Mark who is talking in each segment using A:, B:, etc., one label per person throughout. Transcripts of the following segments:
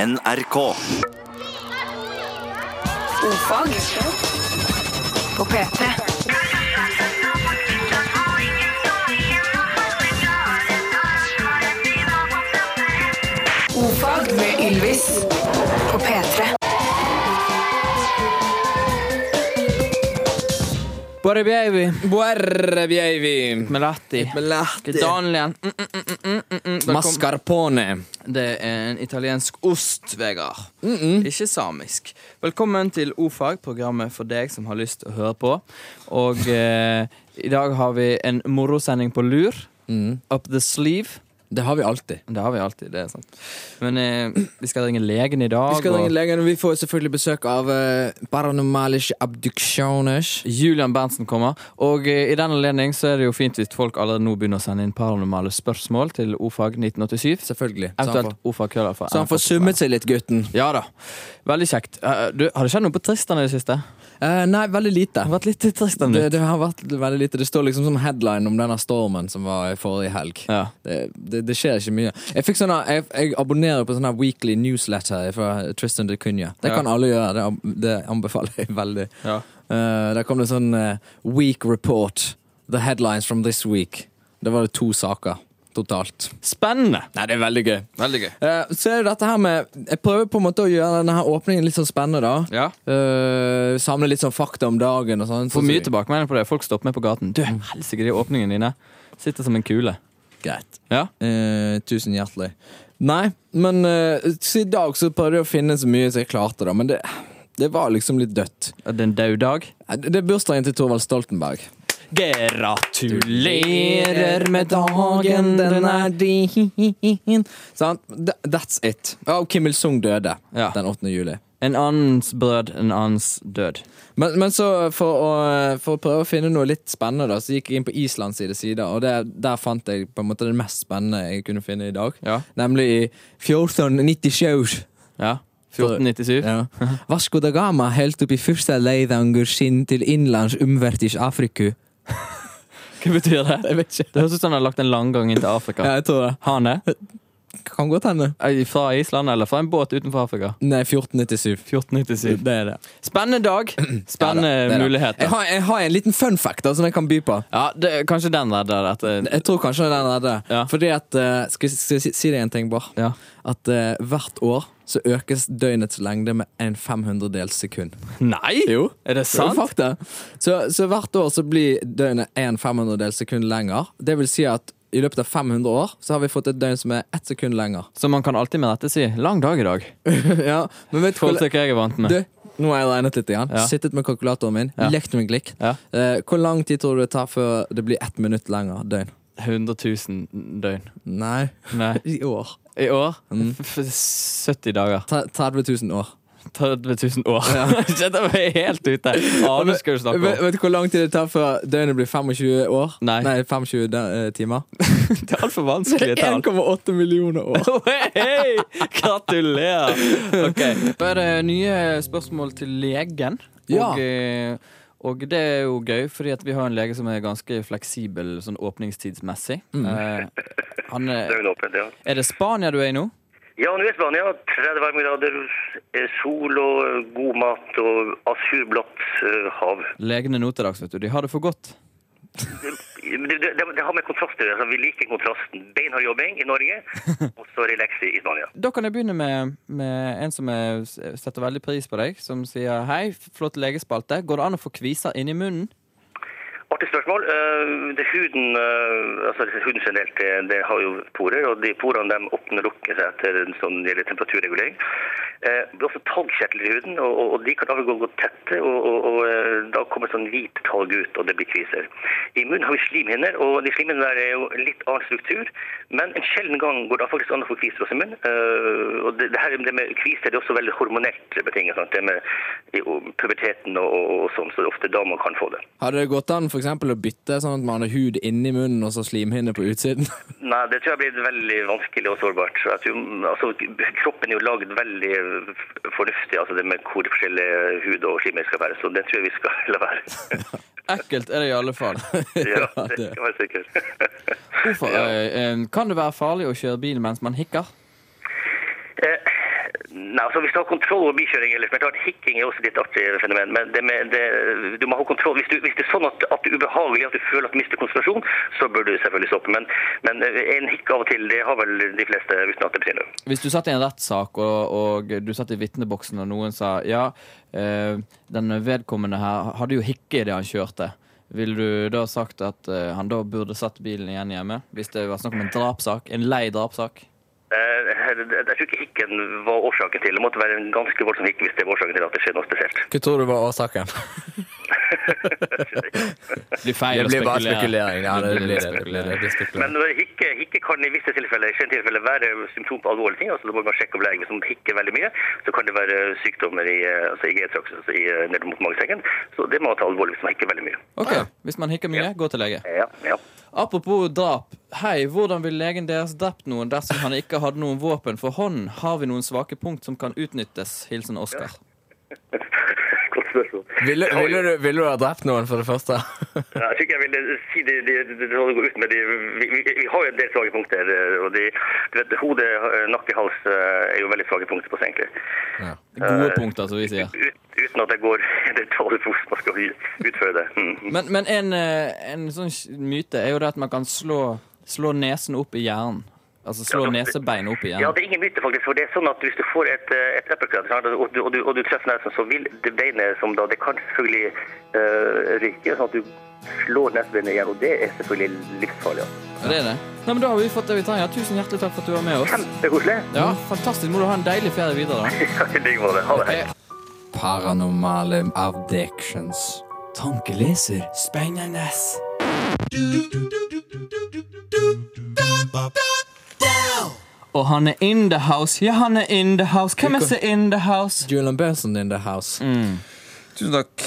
A: NRK.
B: Ofag på P3. Ofag med Ylvis på P3.
C: Bare baby
D: Buerre, bjeivi.
C: med Latti. Danlian. Mm, mm, mm, mm, mm, mm. Da kom-
D: Mascarpone. Mm,
C: Det er en italiensk ost, Vegard.
D: Mm,
C: Ikke samisk. Velkommen til O-fag, programmet for deg som har lyst til å høre på. Og eh, i dag har vi en morosending på lur.
D: mm.
C: Up the sleeve.
D: Det har vi alltid.
C: Det har vi alltid, det er sant. Men eh, vi skal ringe legen i dag.
D: Vi, skal ringe
C: og
D: legen, og vi får selvfølgelig besøk av eh, Paranormalische Abductioners.
C: Julian Berntsen kommer. Og eh, i den anledning så er det jo fint hvis folk allerede nå begynner å sende inn paranormale spørsmål til O-fag 1987.
D: Selvfølgelig. Så han,
C: Eventuelt
D: får,
C: O-fag køller.
D: så han får summet seg litt, gutten.
C: Ja da. Veldig kjekt. Eh, Du, har det skjedd noe på Tristan i det siste? Det
D: Eh, nei, veldig lite.
C: har vært litt Tristan
D: Det,
C: nytt.
D: det har vært veldig lite. Det står liksom som headline om denne stormen som var i forrige helg.
C: Ja.
D: Det, det, det skjer ikke mye. Jeg, fikk sånne, jeg, jeg abonnerer på sånne weekly newsletter fra Tristan de Cunha. Det
C: Ja.
D: kan alle gjøre. Det, ab- det anbefaler jeg veldig.
C: Ja.
D: Eh, der kom det sånn eh, Week report. The headlines from this week. Det var det to saker totalt.
C: Spennende!
D: Nei, det er veldig gøy.
C: Veldig gøy.
D: Eh, så er det dette her med Jeg prøver på en måte å gjøre denne her åpningen litt sånn spennende, da.
C: Ja.
D: Eh, samle litt sånn fakta om dagen og sånn.
C: Får
D: Sånn
C: mye
D: som-
C: tilbakemelding på det. Folk stopper meg på gaten. Du,
D: Mm.
C: helsike, de åpningene dine sitter som en kule.
D: Greit.
C: Ja.
D: Eh, tusen hjertelig. Nei, men eh, så i dag så prøvde jeg å finne så mye som jeg klarte, da. Men det, det var liksom litt dødt.
C: Er Det er en død dag.
D: Eh, Det det er bursdagen til Thorvald Stoltenberg.
C: Gratulerer med dagen, den er
D: din. Sant? Th- That's it. Ja, og Kim Il-sung døde
C: Ja.
D: den 8. juli.
C: En annens brød, en annens død.
D: Men, men så for å, for å prøve å finne noe litt spennende, da, så gikk jeg inn på Islands side side, og det, der fant jeg på en måte det mest spennende jeg kunne finne i dag.
C: Ja.
D: Nemlig i 1497.
C: Ja. 1497.
D: Ja. Vasco da Gama helt opp i første leidanger sin til innlands umvertis Afriku.
C: Hva betyr det?
D: Jeg vet ikke.
C: Det høres ut som han har lagt en langgang inn til Afrika.
D: Ja, jeg tror det.
C: Har han det?
D: Kan godt hende.
C: Er de Fra Island, eller fra en båt utenfor Afrika?
D: Nei, 1497.
C: 1497.
D: Det er det. eh,
C: Spennende dag.
D: Ja da, det
C: Spennende
D: er det.
C: muligheter.
D: Jeg har, jeg har en liten fun fact da, som jeg kan by på.
C: Ja, det, kanskje den redder eh, dette.
D: Jeg tror kanskje den er det.
C: Ja.
D: Fordi at, eh, skal, jeg- skal jeg si, si deg en ting, Bård?
C: Ja.
D: At eh, hvert år så økes døgnets lengde med en 500 dels sekund.
C: Nei!
D: Jo.
C: Er det
D: Det er jo
C: sant?
D: fakta. Så, så hvert år så blir døgnet en 500 dels sekund lenger. Det vil si at i løpet av 500 år så har vi fått et døgn som er ett sekund lenger.
C: Så man kan alltid med dette si 'lang dag i dag'.
D: ja, men vet du
C: Forhold
D: hvor-
C: til hva jeg er vant med.
D: Du, nå har jeg regnet litt. Igjen.
C: Ja.
D: Sittet med kalkulatoren min,
C: Ja.
D: lekt med glikk.
C: Ja.
D: Eh, hvor lang tid tror du det tar før det blir ett minutt lenger døgn?
C: 100 000 døgn.
D: Nei,
C: Nei.
D: i år.
C: I år? F f 70 dager.
D: Tre- 30 000 år.
C: 30 000 år. Dette var jeg helt ute. Aner ikke hva du snakker
D: Vet,
C: om.
D: vet du hvor lang tid det tar før døgnet blir 25 år?
C: Nei.
D: 25 de, eh, timer.
C: Det er altfor vanskelige tall.
D: 1,8 millioner år.
C: Hei! Gratulerer! Ok, Da er det nye spørsmål til legen.
D: Ja.
C: Og, eh, og det er jo gøy, fordi at vi har en lege som er ganske fleksibel sånn åpningstidsmessig. Eh, han er,
E: Døgnåpent, ja.
C: er det Spania du er i nå?
E: Ja, nå er Spania 30 varmegrader, eh, sol og god mat og asurblått eh, hav.
C: Legene nå til dags, vet du. De har det for godt.
E: Men Det, det, det, det har med kontrast å gjøre. altså, Vi liker kontrasten. Beinhard jobbing i Norge, og så relax i Spania.
C: Da kan jeg begynne med, med en som er, setter veldig pris på deg, som sier hei, flott legespalte. Går det an å få kviser inni munnen?
E: Artig spørsmål. Eh, det huden, eh, altså huden generelt det, det har jo porer, og de porene de åpner og lukker seg etter en sånn gjelder temperaturregulering. Eh, det blir også talgkjertler i huden, og, og, og de kan av og til gå tette, og, og, og eh, da kommer sånn hvit talg ut, og det blir kviser. I munnen har vi slimhinner, og de slimhinnene der er jo litt annen struktur, men en sjelden gang går det faktisk an å få kviser også i munnen. Eh, og det, det her det med kviser det er også veldig hormonelt betinget, sant? det med i- og puberteten og, og, og sånn, så det er ofte da man kan få det.
D: Hadde det gått an for eksempel, å bytte sånn at man hadde hud inni munnen og så slimhinne på utsiden?
E: Nei, det tror jeg blir veldig vanskelig og sårbart. Så Jeg tror, altså, kroppen er jo laget veldig fornuftig, altså det med hvor forskjellig hud og slimmer skal være. Så det tror jeg vi skal la være.
C: Ekkelt er det i alle fall.
E: Ja,
D: Ja,
E: det
D: det-
E: skal være sikkert.
C: Hvorfor, eh, eh, kan det være farlig å kjøre bil mens man hikker?
E: Eh, Nei, altså Hvis du har kontroll over bikjøring ellers men klart, Hikking er også et litt artig fenomen. men det med, det, du må ha kontroll. Hvis, du, hvis det er sånn at, at det er ubehagelig, at du føler at du mister konsentrasjon, så bør du selvfølgelig stoppe. Men, men eh, en hikk av og til, det har vel de fleste uten at det betyr noe.
C: Hvis du satt i en rettssak og, og du satt i vitneboksen og noen sa ja, eh, den vedkommende her hadde jo hikke idet han kjørte, ville du da sagt at eh, han da burde satt bilen igjen hjemme? Hvis det var snakk om en drapssak? En lei drapssak?
E: Eh, Jeg jeg tror ikke hikken var årsaken til. Det måtte være en ganske voldsom hikk hvis det var årsaken til at det skjedde noe spesielt.
D: Hva tror du var årsaken?
C: Det blir feil
D: Det blir
C: å
D: bare
C: spekulere.
D: spekulering. Ja, det blir det. det, blir det, det blir spekulering.
E: Men eh, hikke, hikke kan i visse tilfeller, i sjelden tilfeller være symptom på alvorlige ting. altså Da må man sjekke opplegget. Hvis man hikker veldig mye, så kan det være sykdommer i, eh, altså i G-traksen, altså i, eh, nede mot magesekken. Så det må man ta alvorlig hvis man hikker veldig mye. Eh,
C: Ok, Hvis man hikker mye, gå til lege.
E: Ja, ja.
C: Apropos drap. Hei, hvordan ville legen deres drept noen dersom han ikke hadde noen våpen for hånden? Har vi noen svake punkt som kan utnyttes? Hilsen Oskar.
E: Godt spørsmål.
D: Ville,
E: Jeg har
D: ville,
E: jo-
D: du, ville du ha drept noen, for det første?
E: Ja, Jeg tror ikke jeg ville si det, det, det, det, det går ut med de, vi, vi, vi har jo en del svage punkter. eh, og de, du vet, Hode, eh, nakke, hals eh, er jo veldig svage punkter på seg, egentlig.
C: Gode
E: Eh.
C: punkter, som vi sier.
E: Ut, uten at det går det tåler hvordan man skal utføre det. Mm.
C: Men, men en, eh, en sånn myte er jo det at man kan slå, slå nesen opp i hjernen. Altså slå
E: Ja, det-
C: nesebeinet opp i
E: Ja,
C: hjernen.
E: det er ingen myte, faktisk. For det er sånn at hvis du får et, eh, et uppercut sant, og, du, og, du, og du treffer nesen, så vil det beinet som da Det kan selvfølgelig eh, ryke, sånn at du slår nesebeinet igjen. Og det er selvfølgelig livsfarlig. Altså.
C: Ja, det er det. Nei, men Da har vi fått det vi trenger. Tusen hjertelig takk for at du var med oss.
E: Kjempekoselig.
C: Ja, Fantastisk. Må du ha en deilig ferie videre. da.
E: Ja, I like måte. Ha det. Hei.
D: Paranormale abdictions. Tankeleser. Spennende.
C: Og han er in the house. Ja, han er in the house. Hvem er så in the house?
D: Julian Benson in the house.
A: Tusen takk.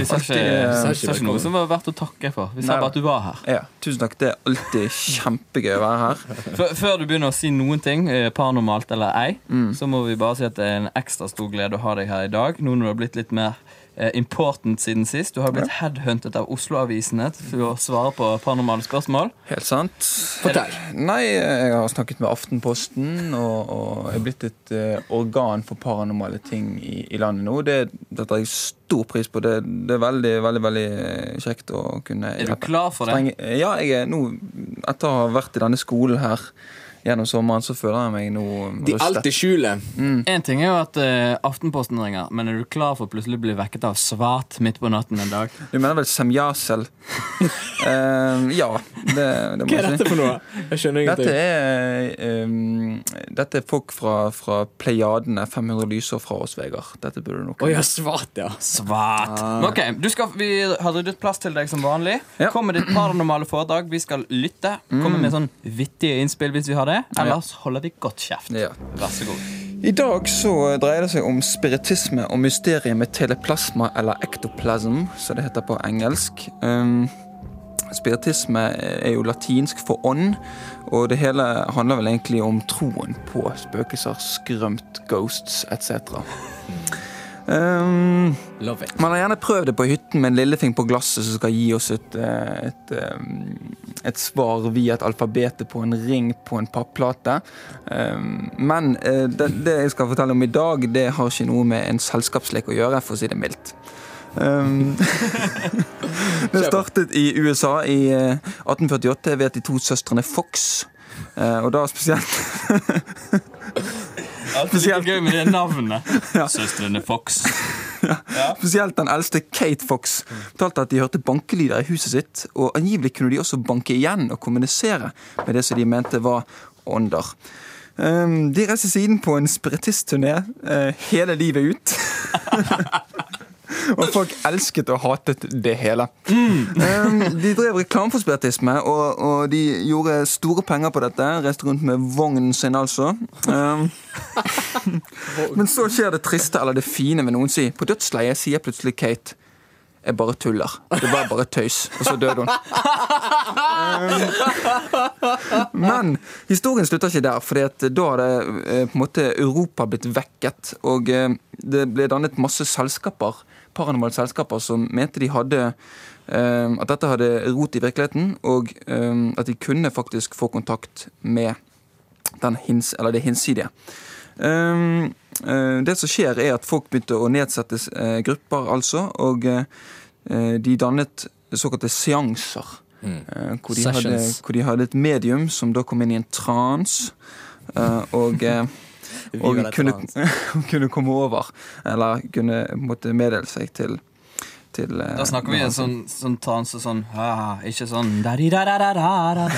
C: Vi sa ikke,
D: sa ikke
C: sa ikke noe
D: velkommen.
C: som var verdt å takke for. Vi sa
A: eh, Nei.
C: bare at du var her.
A: Ja, tusen takk. Det er alltid kjempegøy å være her.
C: Før, før du begynner å si noen ting, eh, paranormalt eller ei,
A: Mm.
C: så må vi bare si at det er en ekstra stor glede å ha deg her i dag. Nå når du har blitt litt mer eh, important siden sist. Du har blitt headhuntet av Oslo-avisene for å svare på paranormale spørsmål.
A: Helt sant.
D: Fortell.
A: Nei, jeg har snakket med Aftenposten, og, og jeg er blitt et eh, organ for paranormale ting i, i landet nå. Det, dette har jeg stor pris på. Det, det er veldig, veldig veldig eh, kjekt å kunne
C: Er du klar for det?
A: Trenge- ja, jeg er nå Etter å ha vært i denne skolen her gjennom sommeren, så føler jeg meg nå
D: De alltid skjuler.
A: Mm.
C: En ting er jo at eh, Aftenposten ringer, men er du klar for å plutselig bli vekket av svart midt på natten en dag?
A: Du mener vel samjasel? Eh, ja, det, det må
D: Hva
A: jeg
D: er
A: si.
D: dette for noe? Jeg skjønner
A: Dette
D: ingenting.
A: er, ehm, dette er folk fra, fra Plejadene, 500 lysår fra oss, Vegard. Dette burde du nok
D: Å ja, svart, ja.
C: Svart. Men ok, du skal, Vi har ryddet plass til deg som vanlig.
A: Ah. Ja. Mm.
C: Kom med ditt paranormale foredrag. Vi skal lytte. Kom med sånn vittige innspill hvis vi har det. Ellers holder vi godt kjeft.
A: Ja.
C: Vær så god.
A: I dag så dreier det seg om spiritisme og mysteriet med teleplasma, eller ektoplasm, som det heter på engelsk. Ehm, spiritisme er jo latinsk for ånd, og det hele handler vel egentlig om troen på spøkelser, skrømt, ghosts etc. Um,
D: Love it.
A: Man har gjerne prøvd det på hytten med en lillefing på glasset som skal gi oss et, eh, et, eh, et svar via et alfabetet på en ring på en papplate. Um, Men eh, det, det jeg skal fortelle om i dag, det har ikke noe med en selskapslek å gjøre, for å si det mildt. Um, det startet i USA i eh, 1848 ved de to søstrene Fox. eh, Og da spesielt
C: Alltid like
A: Spesielt-
C: gøy med det navnet. Søstrene Fox.
A: Spesielt den eldste Kate Fox fortalte at de hørte bankelyder i huset sitt, og angivelig kunne de også banke igjen og kommunisere med det som de mente var ånder. Ehm, De reiste siden på en spiritistturné eh, hele livet ut. Og folk elsket og hatet det hele. Um, de drev reklame for spiritisme, og, og de gjorde store penger på dette. Reiste rundt med vognen sin, altså. Um, men så skjer det triste, eller det fine, vil noen si. På dødsleiet sier plutselig Kate jeg bare tuller. Det var bare tøys. Og så døde hun. Um, Men historien slutter ikke der, for da hadde eh, på en måte Europa blitt vekket. Og eh, det ble dannet masse selskaper, paranormale selskaper som mente de hadde eh, At dette hadde rot i virkeligheten, og eh, at de kunne faktisk få kontakt med den hins, eller det hinsidige. Um, eh, det som skjer, er at folk begynte å nedsette eh, grupper, altså. Og eh, eh, de dannet såkalte seanser. eh, Hvor, de hadde,
D: Sessions.
A: hvor de hadde et medium som da kom inn i en trans. eh, og eh, og
F: var der
A: kunne,
F: trans.
A: kunne komme over, eller kunne måtte meddele seg til, til eh,
C: Da snakker vi en sånn, sånn transe sånn ah, Ikke sånn da-di-da-da-da-da-da.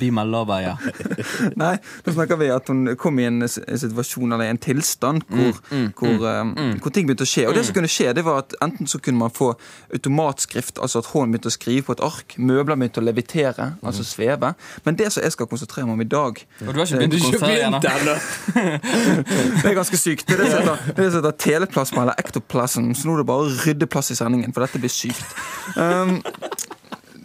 C: Be my lover, ja.
A: Nei, nå snakker vi at hun kom i en s- en situasjon eller en tilstand
C: Mm,
A: hvor, hvor, eh, hvor ting begynte å skje. Og det som kunne skje, det var at enten så kunne man få automatskrift, altså at hånden begynte å skrive på et ark, møbler begynte å levitere, altså sveve. Men det som jeg skal konsentrere meg om i dag,
C: Mm.
A: eh,
C: Og du har ikke begynt å konsentrere deg ennå?
A: det er ganske sykt. Det er det som heter- det er det som heter teleplasma eller ektoplasm, så nå er det bare å rydde plass i sendingen, for dette blir sykt. Um,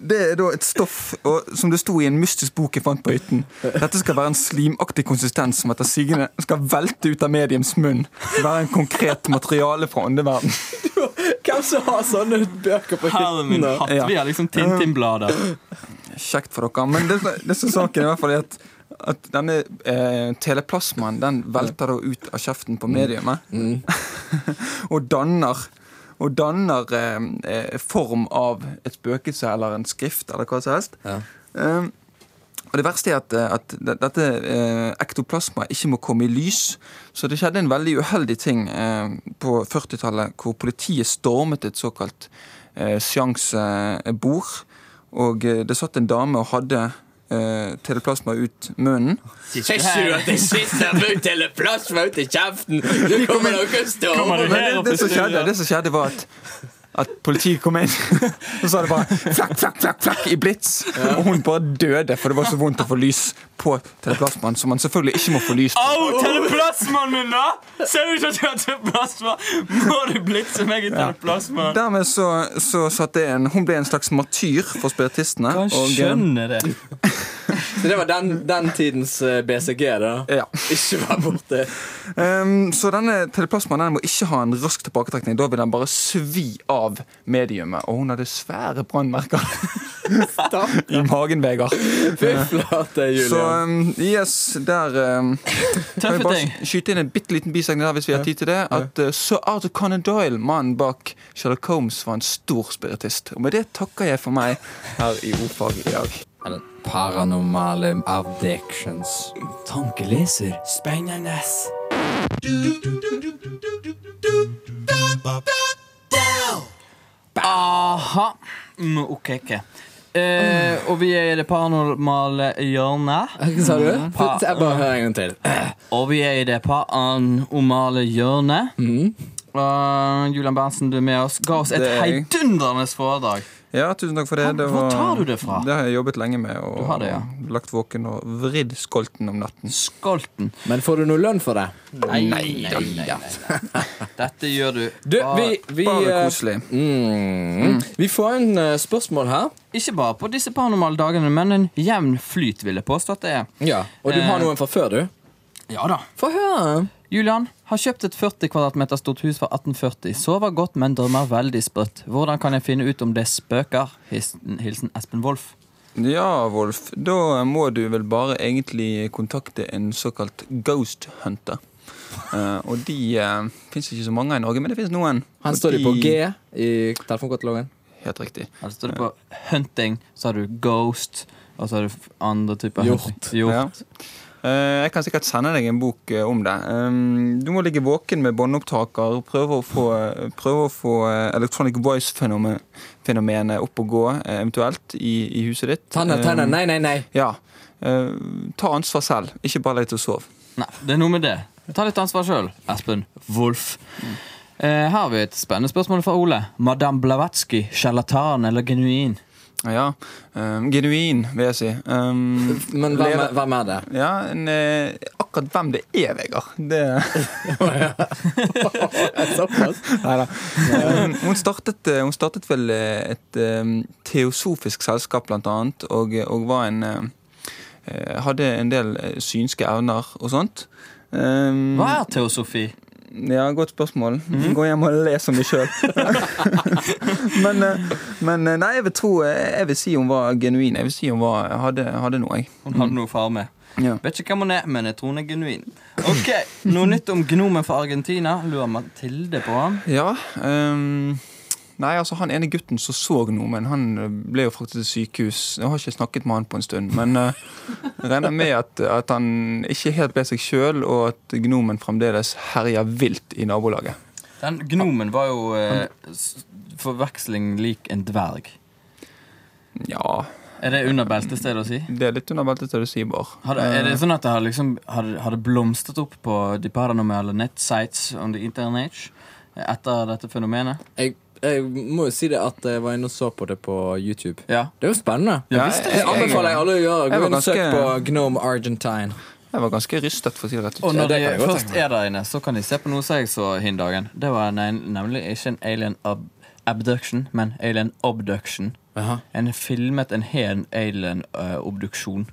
A: det er da et stoff og, som det sto i en mystisk bok jeg fant på hytten. Dette skal være en slimaktig konsistens som etter sigende skal velte ut av mediums munn. Være en konkret materiale fra åndeverden.
F: Hvem som har sånne bøker på
C: Herre min
F: hytten?
C: hatt,
A: Ja.
C: vi har liksom Tintin-blader.
A: Kjekt for dere. Men det, som- det som er saken i hvert fall er at at denne eh, teleplasmaen den velter da ut av kjeften på mediumet. og danner og danner eh, eh, form av et spøkelse eller en skrift eller hva som helst. Eh, og det verste er at, at de- dette eh, ektoplasma ikke må komme i lys. Så det skjedde en veldig uheldig ting eh, på 40-tallet, hvor politiet stormet et såkalt eh, seansebord. Og eh, det satt en dame og hadde eh, teleplasma ut munnen.
F: Ser ikke du at jeg sitter med teleplasma ut i kjeften? Du kommer nok å stå
A: Men det, det, som skjedde, det som skjedde, var at at politiet kom inn, og så var det bare flakk, flakk, flakk, flakk i blits. Og hun bare døde, for det var så vondt å få lys på teleplasmaen, som man selvfølgelig ikke må få lys på.
C: Au, teleplasmaen min, da! Ser du ikke at jeg har teleplasma? Må du blitse meg i teleplasma?
A: Dermed så, så satt det en, hun ble en slags matyr for spiritistene.
C: Jeg
A: og, eh,
C: skjønner det.
F: Så det var den, den tidens eh, BCG, da?
A: Ja.
F: Ikke vær borte.
A: Ehm, så denne teleplasmaen den må ikke ha en rask tilbaketrekning. Da vil den bare svi av mediumet. Og hun hadde svære brannmerker i magen, Vegard.
F: Fy flate,
A: Så
D: eh,
F: Julian.
A: ehm, yes, der um, Kan vi
C: Tøffe ting.
A: bare skyte inn en bitte liten bisetning der hvis vi har tid til det? At eh, Sir Arthur Conan Doyle, mannen bak Sherlock Holmes, var en stor spiritist. Og med det takker jeg for meg her i Ordfag i dag.
D: Eller Paranormale addictions. Tankeleser. Spennende.
C: Aha. Mm, ok, ok. Eh, og vi er i det paranormale hjørnet.
D: Sa du?
C: Pa-
D: Jeg bare hører en gang til.
C: Og vi er i det paranormale hjørnet. Eh, Julian Berntsen, du Mm. er med oss. Ga oss et
A: Det er jeg.
C: heidundrende foredrag.
A: Ja, tusen takk for det.
C: Hvor-
A: det
C: hvor tar du det fra?
A: Det har jeg jobbet lenge med. Og
C: Du har det, ja.
A: Lagt våken og vridd skolten om natten.
C: Skolten.
D: Men får du noe lønn for det?
C: Nei, nei, nei, nei, nei. Dette gjør du.
D: Du,
C: bare-
D: vi, vi
A: Bare
D: eh,
A: koselig.
D: mm, Vi får en eh, spørsmål her.
C: Ikke bare på disse paranormale dagene, men en jevn flyt, vil jeg påstå at det er.
D: Og du har
C: Eh,
D: noen fra før, du?
C: Ja da.
D: Få høre.
C: Julian har kjøpt et 40 kvadratmeter stort hus fra 1840. Sover godt, men drømmer veldig sprøtt. Hvordan kan jeg finne ut om det spøker? Hilsen, hilsen Espen Wolff.
A: Ja, Wolf. Da må du vel bare egentlig kontakte en såkalt ghost hunter. Eh, og de uh, fins ikke så mange i Norge, men det fins noen.
D: Her
A: Og
D: står de på G i telefonkatalogen.
A: Helt riktig.
C: Her Altså, står det på hunting, så har du ghost, og så har du f- andre typer
D: Hjort.
C: hunting. Hjort.
A: Ja. Eh, jeg kan sikkert sende deg en bok eh, om det. Um, du må ligge våken med båndopptaker, prøve å få, prøve å få eh, electronic voice-fenomenet opp og gå, eh, eventuelt, i, i huset ditt.
D: Tenner,
A: Eh,
D: tenner. Nei, nei, nei.
A: Ja. Eh, ta ansvar selv, ikke bare legg deg til å sove.
C: Nei, det er noe med det. Ta litt ansvar sjøl, Espen Wolff. Eh, her har vi et spennende spørsmål fra Ole. Madame Blavatsky, sjarlatan eller genuin?
A: Ja. Um, genuin, vil jeg si. Um,
D: Men hvem,
A: leder-
D: er- hvem er det?
A: ja, en, eh, akkurat hvem det er, Vegard. Det Nei da. Ehm, Hun startet, eh, hun startet vel et eh, teosofisk selskap, blant annet, og, og var en eh, Hadde en del eh, synske evner og sånt. Um,
C: Hva er teosofi?
A: Ja, godt spørsmål. Gå hjem og les om det sjøl. men, eh, men eh, nei, jeg vil tro Jeg vil si hun var genuin. Jeg vil si hun var, hadde, hadde noe, jeg.
C: Hun hadde noe far med.
A: Ja.
C: Vet ikke hvem hun er, men jeg tror hun er genuin. Ok, Noe nytt om gnomen fra Argentina? Lurer Mathilde på han?
A: Ja, ehm, Nei, altså Han ene gutten som så noe, men han eh, ble jo fraktet til sykehus. Jeg har ikke snakket med han på en stund, men eh, regner med at, at han ikke helt ble seg sjøl, og at gnomen fremdeles herjer vilt i nabolaget.
C: Den gnomen var jo eh, s- forveksling lik en dverg.
A: Ja,
C: Er det under beltestedet å si?
A: det er litt under beltet til du sier, Bård.
C: Har det, er det sånn at det har, liksom, har, har det blomstret opp på de paranormale nettsites on the internet etter dette fenomenet?
D: Jeg, jeg må jo si det at jeg var inne og så på det på YouTube.
C: Ja.
D: Det er jo spennende.
A: Ja,
C: visst
A: jeg,
D: Jeg anbefaler jeg alle å gjøre.
A: Jeg
D: Gå
A: var
D: inn og søk
A: ganske-
D: på Gnome Argentine.
A: Eh, jeg var ganske rystet, for å si det rett ut.
C: Og når
D: det kan jeg
C: de
D: godt
C: først er der inne, så kan de se på noe som jeg så hin dagen. Det var en, en- nemlig ikke en alien ab abduction, men alien obduction. En filmet en hel alien eh, obduksjon.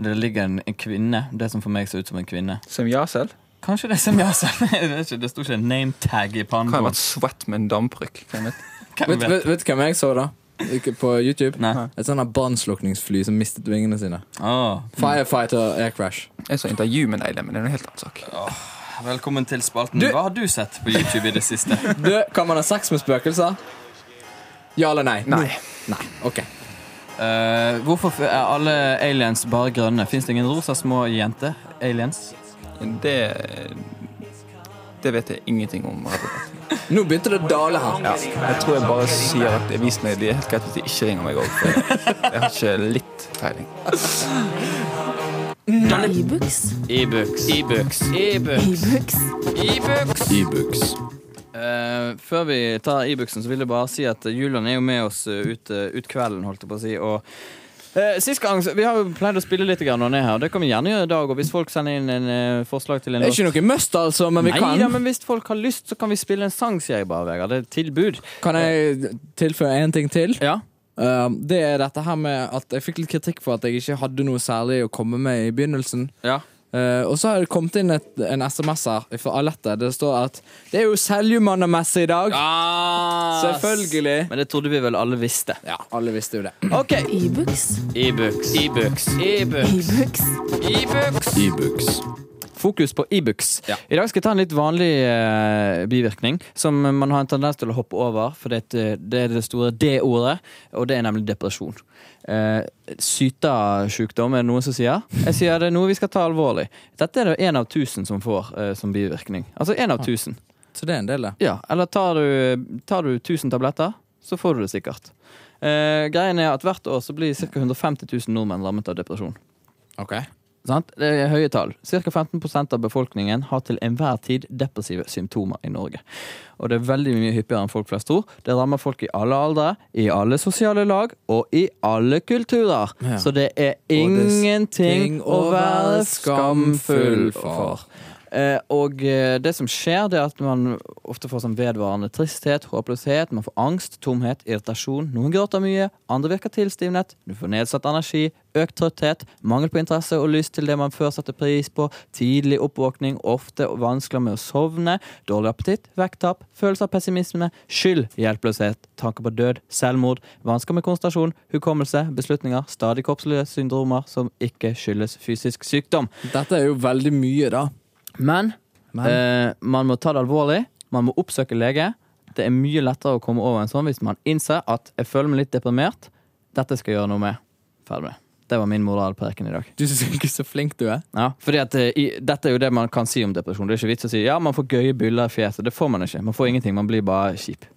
C: Det ligger en, en kvinne, det som for meg så ut som en kvinne.
A: Som jeg selv?
C: Kanskje det er Semyasa. Jeg vet ikke, det sto ikke en nametag i pannen.
A: Kan ha
C: på
A: vært svett med en damprykk. hvem vet.
C: den. Hvem
D: Vet,
C: vet?
D: vet, vet du hvem jeg så, da? Ikke På YouTube?
C: Nei.
D: Et sånt brannslukningsfly som mistet vingene sine.
C: Åh.
D: Firefighter Air Crash.
A: Jeg så intervju med Neile, men det er en helt annen sak.
C: Velkommen til spalten. Hva har du sett på YouTube i det siste?
D: Du, Kan man ha sex med spøkelser? Ja eller nei?
A: Nei.
D: Nei, ok
C: Eh, hvorfor f- er alle aliens bare grønne? Fins det ingen rosa små jenter? Aliens?
A: Det Det vet jeg ingenting om. rett og slett.
D: Nå begynte det å dale her.
A: Jeg tror jeg bare sier at avisene de er helt greit hvis de ikke ringer meg òg, for jeg har ikke litt peiling.
G: E-books.
C: E-books. E-books.
G: E-books.
D: E-books.
C: Eh, før vi tar e-booksen, så vil jeg bare si at Julian er jo med oss eh, ut, eh, ut kvelden, holdt jeg på å si. Og eh, Sist gang, så- Vi har jo pleid å spille litt grann når han er her. Det kan vi gjerne gjøre i dag. Og hvis folk sender inn en eh, forslag til en
D: Det er ikke noe must, altså, men vi
C: Nei
D: kan.
C: da, men hvis folk har lyst, så kan vi spille en sang, sier jeg bare, Vegard. Det er et tilbud.
D: Kan jeg tilføye én ting til?
C: Ja.
D: Uh, det er dette her med at jeg fikk litt kritikk for at jeg ikke hadde noe særlig å komme med i begynnelsen.
C: ja.
D: Eh, og så har det kommet inn et, en SMS her fra Alette. Det står at det er jo Seljumannamesse i dag. Selvfølgelig.
C: Ah. Men det trodde vi vel alle visste.
D: Ja, alle visste jo det.
C: OK.
G: E-books.
C: E-books. E-books.
G: E-books.
C: E-books.
D: E-books.
C: Fokus på e-books.
D: Ja.
C: I dag skal jeg ta en litt vanlig eh, bivirkning, som man har en tendens til å hoppe over, for det, er et, eh, det er det store D-ordet, og det er nemlig depresjon. Uh, Syta-sjukdom er det noen som sier. Jeg sier det er noe vi skal ta alvorlig. Dette er det én av tusen som får eh, som bivirkning. Altså én av tusen.
D: Så det er en del, det.
C: Ja, eller tar du, tar du 1000 tabletter, så får du det sikkert. Eh, greien er at Hvert år så blir ca. 150 000 nordmenn lammet av depresjon.
D: Ok.
C: Sant? Det er høye tall. Ca. 15 av befolkningen har til enhver tid depressive symptomer i Norge. Og det er veldig mye hyppigere enn folk flest tror. Det rammer folk i alle aldre, i alle sosiale lag og i alle kulturer.
D: Ja.
C: Så det er ingenting
D: ting
C: å være skamfull for. Eh, og eh, det som skjer, det er at man ofte får sånn vedvarende tristhet, håpløshet, man får angst, tomhet, irritasjon. Noen gråter mye, andre virker tilstivnet. Du får nedsatt energi, økt trøtthet, mangel på interesse og lyst til det man før satte pris på, tidlig oppvåkning, ofte vanskelig med å sovne, dårlig appetitt, vekttap, følelse av pessimisme, skyld, hjelpeløshet, tanker på død, selvmord, vansker med konsentrasjon, hukommelse, beslutninger, stadig kroppslige syndromer som ikke skyldes fysisk sykdom.
D: Dette er jo veldig mye, da.
C: Men,
D: Men?
C: eh, man må ta det alvorlig. Man må oppsøke lege. Det er mye lettere å komme over en sånn hvis man innser at jeg føler meg litt deprimert. Dette skal jeg gjøre noe med. Ferdig. Det var min moralpreken i dag.
D: Du syns ikke så flink du er.
C: Ja, fordi at eh, i, Dette er jo det man kan si om depresjon. Det er ikke vits å si ja, man får gøye byller i fjeset. Det får man ikke. Man får ingenting. Man blir bare kjip.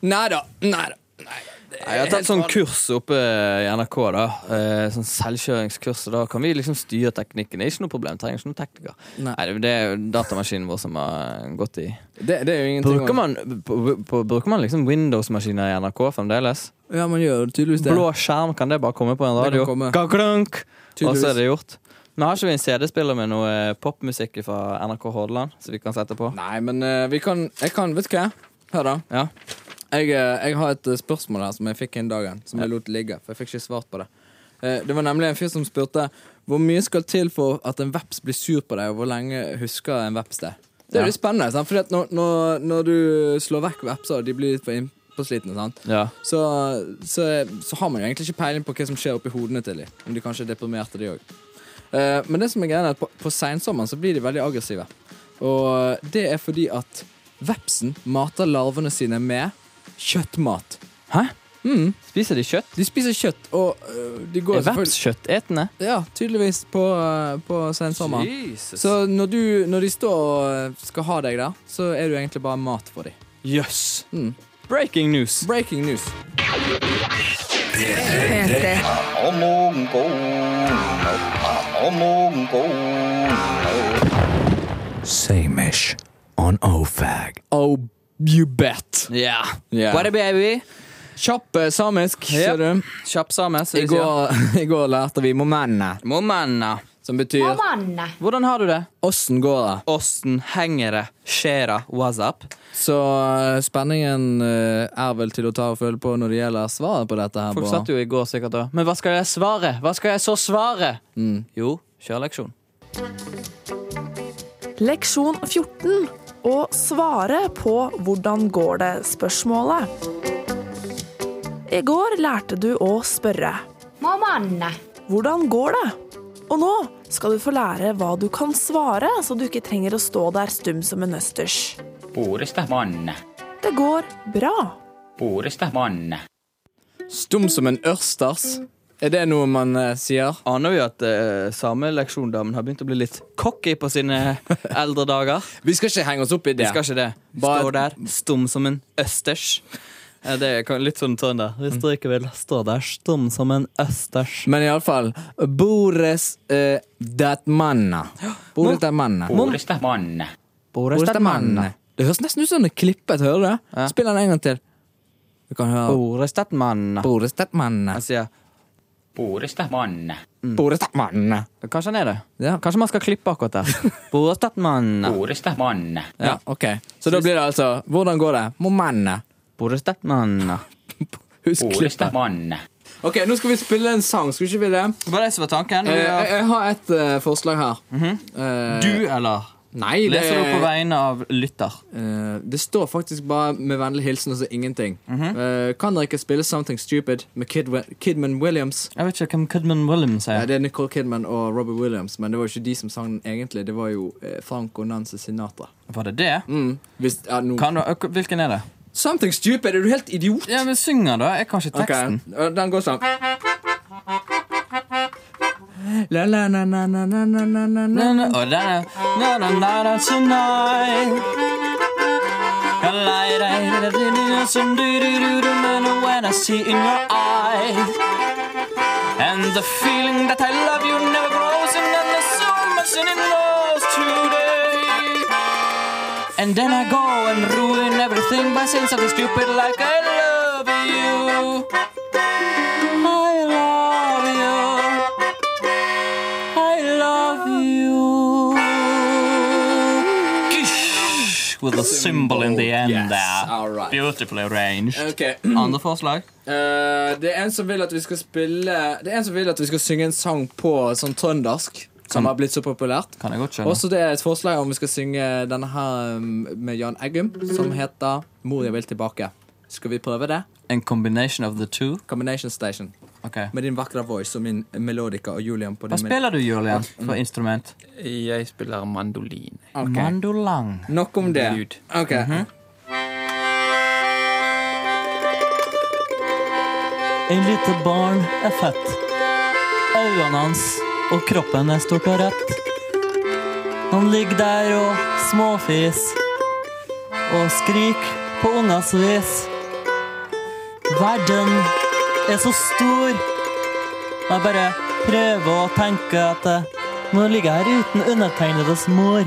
D: Nei da. Nei da.
C: Nei, Jeg har tatt sånn kurs oppe i NRK, da. Eh, Sånn selvkjøringskurs. og Da kan vi liksom styre teknikken. Det er ikke noe problem. Trenger ikke noen tekniker.
D: Nei.
C: Nei, det- det er jo datamaskinen vår som har gått i
D: Det, det er jo ingenting
C: Bruker man, på, på, bruker man liksom Windows-maskiner i NRK fremdeles?
D: å Ja, man gjør tydeligvis det.
C: Blå skjerm, kan det bare komme på en
D: Det kan
C: radio?
D: komme.
C: Gaglank! Og
D: Tydeligvis.
C: så er det gjort. Men har ikke vi en CD-spiller med noe eh, popmusikk fra NRK Hordaland som vi kan sette på?
D: Nei, men eh, vi kan Jeg kan Vet du hva? Hør, da.
C: Ja.
D: Jeg, eh, jeg har et eh, spørsmål her som jeg fikk en dagen, som jeg lot ligge. For jeg fikk ikke svart på det. Eh, Det var nemlig en fyr som spurte hvor mye skal til for at en veps blir sur på deg, og hvor lenge husker en veps det? Det er jo litt spennende, sant? Fordi at når, når, når du slår vekk vepser, og de blir litt for innpåslitne, sant?
C: Ja.
D: Så, så, så har man jo egentlig ikke peiling på hva som skjer oppi hodene til dem. Om de kanskje er deprimerte, de òg. Eh, men det som er greia er at på, på sensommeren så blir de veldig aggressive. Og det er fordi at vepsen mater larvene sine med kjøttmat.
C: Hæ? Spiser de kjøtt?
D: De spiser kjøtt, og øh, de går
C: Er veps kjøttetende?
D: Ja, tydeligvis på, øh, på sensommeren.
C: Jesus.
D: Så når, du, når de står og skal ha deg der, så er du egentlig bare mat for dem.
C: Jøss.
D: Mm.
C: Breaking news.
D: Breaking news.
B: P3.
F: Samish on OFAG.
D: Oh, you bet.
C: Ja.
D: Yeah.
C: What a baby.
D: Kjapp eh, samisk,
C: Ja.
D: ser du.
C: Kjapp sammen. så
D: I
C: de sier.
D: går, I går lærte vi momenna,
C: Momenna.
D: som betyr
C: Hvordan har du det?
D: åssen går det.
C: Åssen henger det? Skjer'a? What's up?
D: Så eh, spenningen eh, er vel til å ta og føle på når det gjelder svaret på dette. her
C: Folk satt jo i går sikkert da. Men hva skal jeg svare? Hva skal jeg så svare? Jo, kjør leksjon.
H: Leksjon 14. Å svare på 'hvordan går det?'-spørsmålet. I går lærte du å spørre
G: Mamanne.
H: 'hvordan går det?', og nå skal du få lære hva du kan svare, så du ikke trenger å stå der stum som en østers. Det går bra.
D: Stum som en ørsters. Er det noe man eh, sier?
C: Aner vi at uh, sameleksjondamen har begynt å bli litt cocky på sine eldre dager?
D: Vi skal ikke henge oss opp i det.
C: Vi skal ikke det.
D: Bare-
C: Står der, stum som en østers. Eh, Det er kan- litt sånn trønder. Hvis dere ikke vil stå der, stum som en østers.
D: Men iallfall Bores uh, dat manna. Bores dat manna. Bores dat manna. Det høres nesten ut som det er klippet, hører du det? Spill den en gang til. Du kan
C: Oh.
D: høre
C: Borestatmann.
D: Bores dat manna.
C: Han sier Mm.
D: Bores dat manna.
C: Kanskje han er det.
D: Ja.
C: Kanskje man skal klippe akkurat der. Borestatmann.
D: Ja, ok. Så da blir det altså Hvordan går det? Må manna.
C: Borestatmann.
D: Husk klippet. Ok, nå skal vi spille en sang, skal vi ikke vi det?
C: Det var det som var tanken.
D: Eh,
C: Vi
D: jeg,
C: har-
D: jeg har et eh, forslag her. Eh,
C: Du, eller?
D: Nei, det,
C: Mhm. Leser du på vegne av lytter?
D: Eh, det står faktisk bare med vennlig hilsen og så ingenting.
C: Mhm.
D: Eh, kan dere ikke spille Something Stupid med Kid Kidman Williams?
C: Jeg vet ikke hvem Kudman Williams
D: Ja,
C: er.
D: det er Nicole Kidman og Robbie Williams, men det var jo ikke de som sang den egentlig. Det var jo eh, Franco Nancy Sinatra.
C: Var det det?
D: Mm. Hvis, ja, no.
C: Kan du, ø- hvilken er det?
D: Something Stupid, er du helt idiot?
C: Ja, men synger, da. Jeg kan ikke
D: Ok,
C: teksten.
D: eh, Den går sånn. La, la, na, na, na, na, na, na, na, na.
C: Na, na, oh, da, na, na, na, na, tonight. A light, I did it, did it, some do, do, do, do, na, na, When I see in your eyes And the feeling that I love you never grows And then there's so much in it lost today And then I go and ruin everything By saying something stupid like I love you I love you I love you. With a symbol in the end
D: Yes,
C: there.
D: all right.
C: Beautifully arranged.
D: Ok.
C: Andre forslag?
D: Eh, det er en som vil at vi skal spille Det er en som vil at vi skal synge en sang på sånn trøndersk, som har blitt så populært.
C: Kan jeg godt skjønne.
D: Også det er et forslag om vi skal synge denne her um, med Jan Eggum, som heter 'Mor, jeg vil tilbake'. Skal vi prøve det?
C: En combination of the two?
D: Combination Station.
C: Ok.
D: Med din vakre voice og min melodica og Julian på din
C: Hva spiller du, Julian, for instrument?
A: Jeg spiller mandolin.
C: Mandolang.
D: Nok om
A: Lyd.
D: det. Ok.
C: Mhm. En lite barn er født. Øynene hans og kroppen er stort og rett. Han ligger der og småfis og skrik på ungas vis. Verden er så stor. Jeg bare prøver å tenke at jeg nå ligger jeg her uten undertegnedes mor.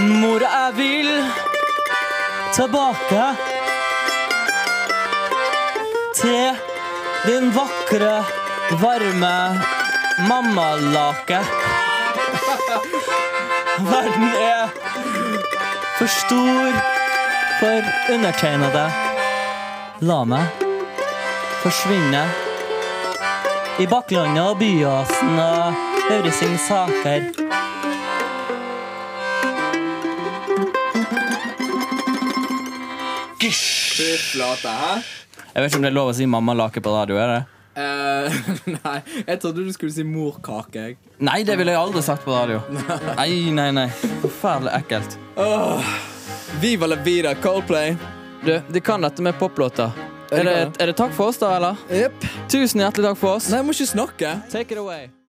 C: Mor, jeg vil tilbake til din vakre, varme mammalake. Verden er for stor for undertegnede. La meg forsvinne i baklandet og byåsen og Laurisings saker.
F: Fy flate, hæ?
C: Jeg vet ikke om det er lov å si mammalake på radio. er det?
D: Eh, nei, jeg trodde du skulle si morkake. jeg.
C: Nei, det ville jeg aldri sagt på radio. Nei, nei, nei. Forferdelig ekkelt.
D: Viva la vida, Coldplay.
C: Du, de kan dette med poplåter. Er det, er det takk for oss, da, eller?
D: Jepp.
C: Tusen hjertelig takk for oss.
D: Nei, jeg må ikke snakke.
C: Take it away.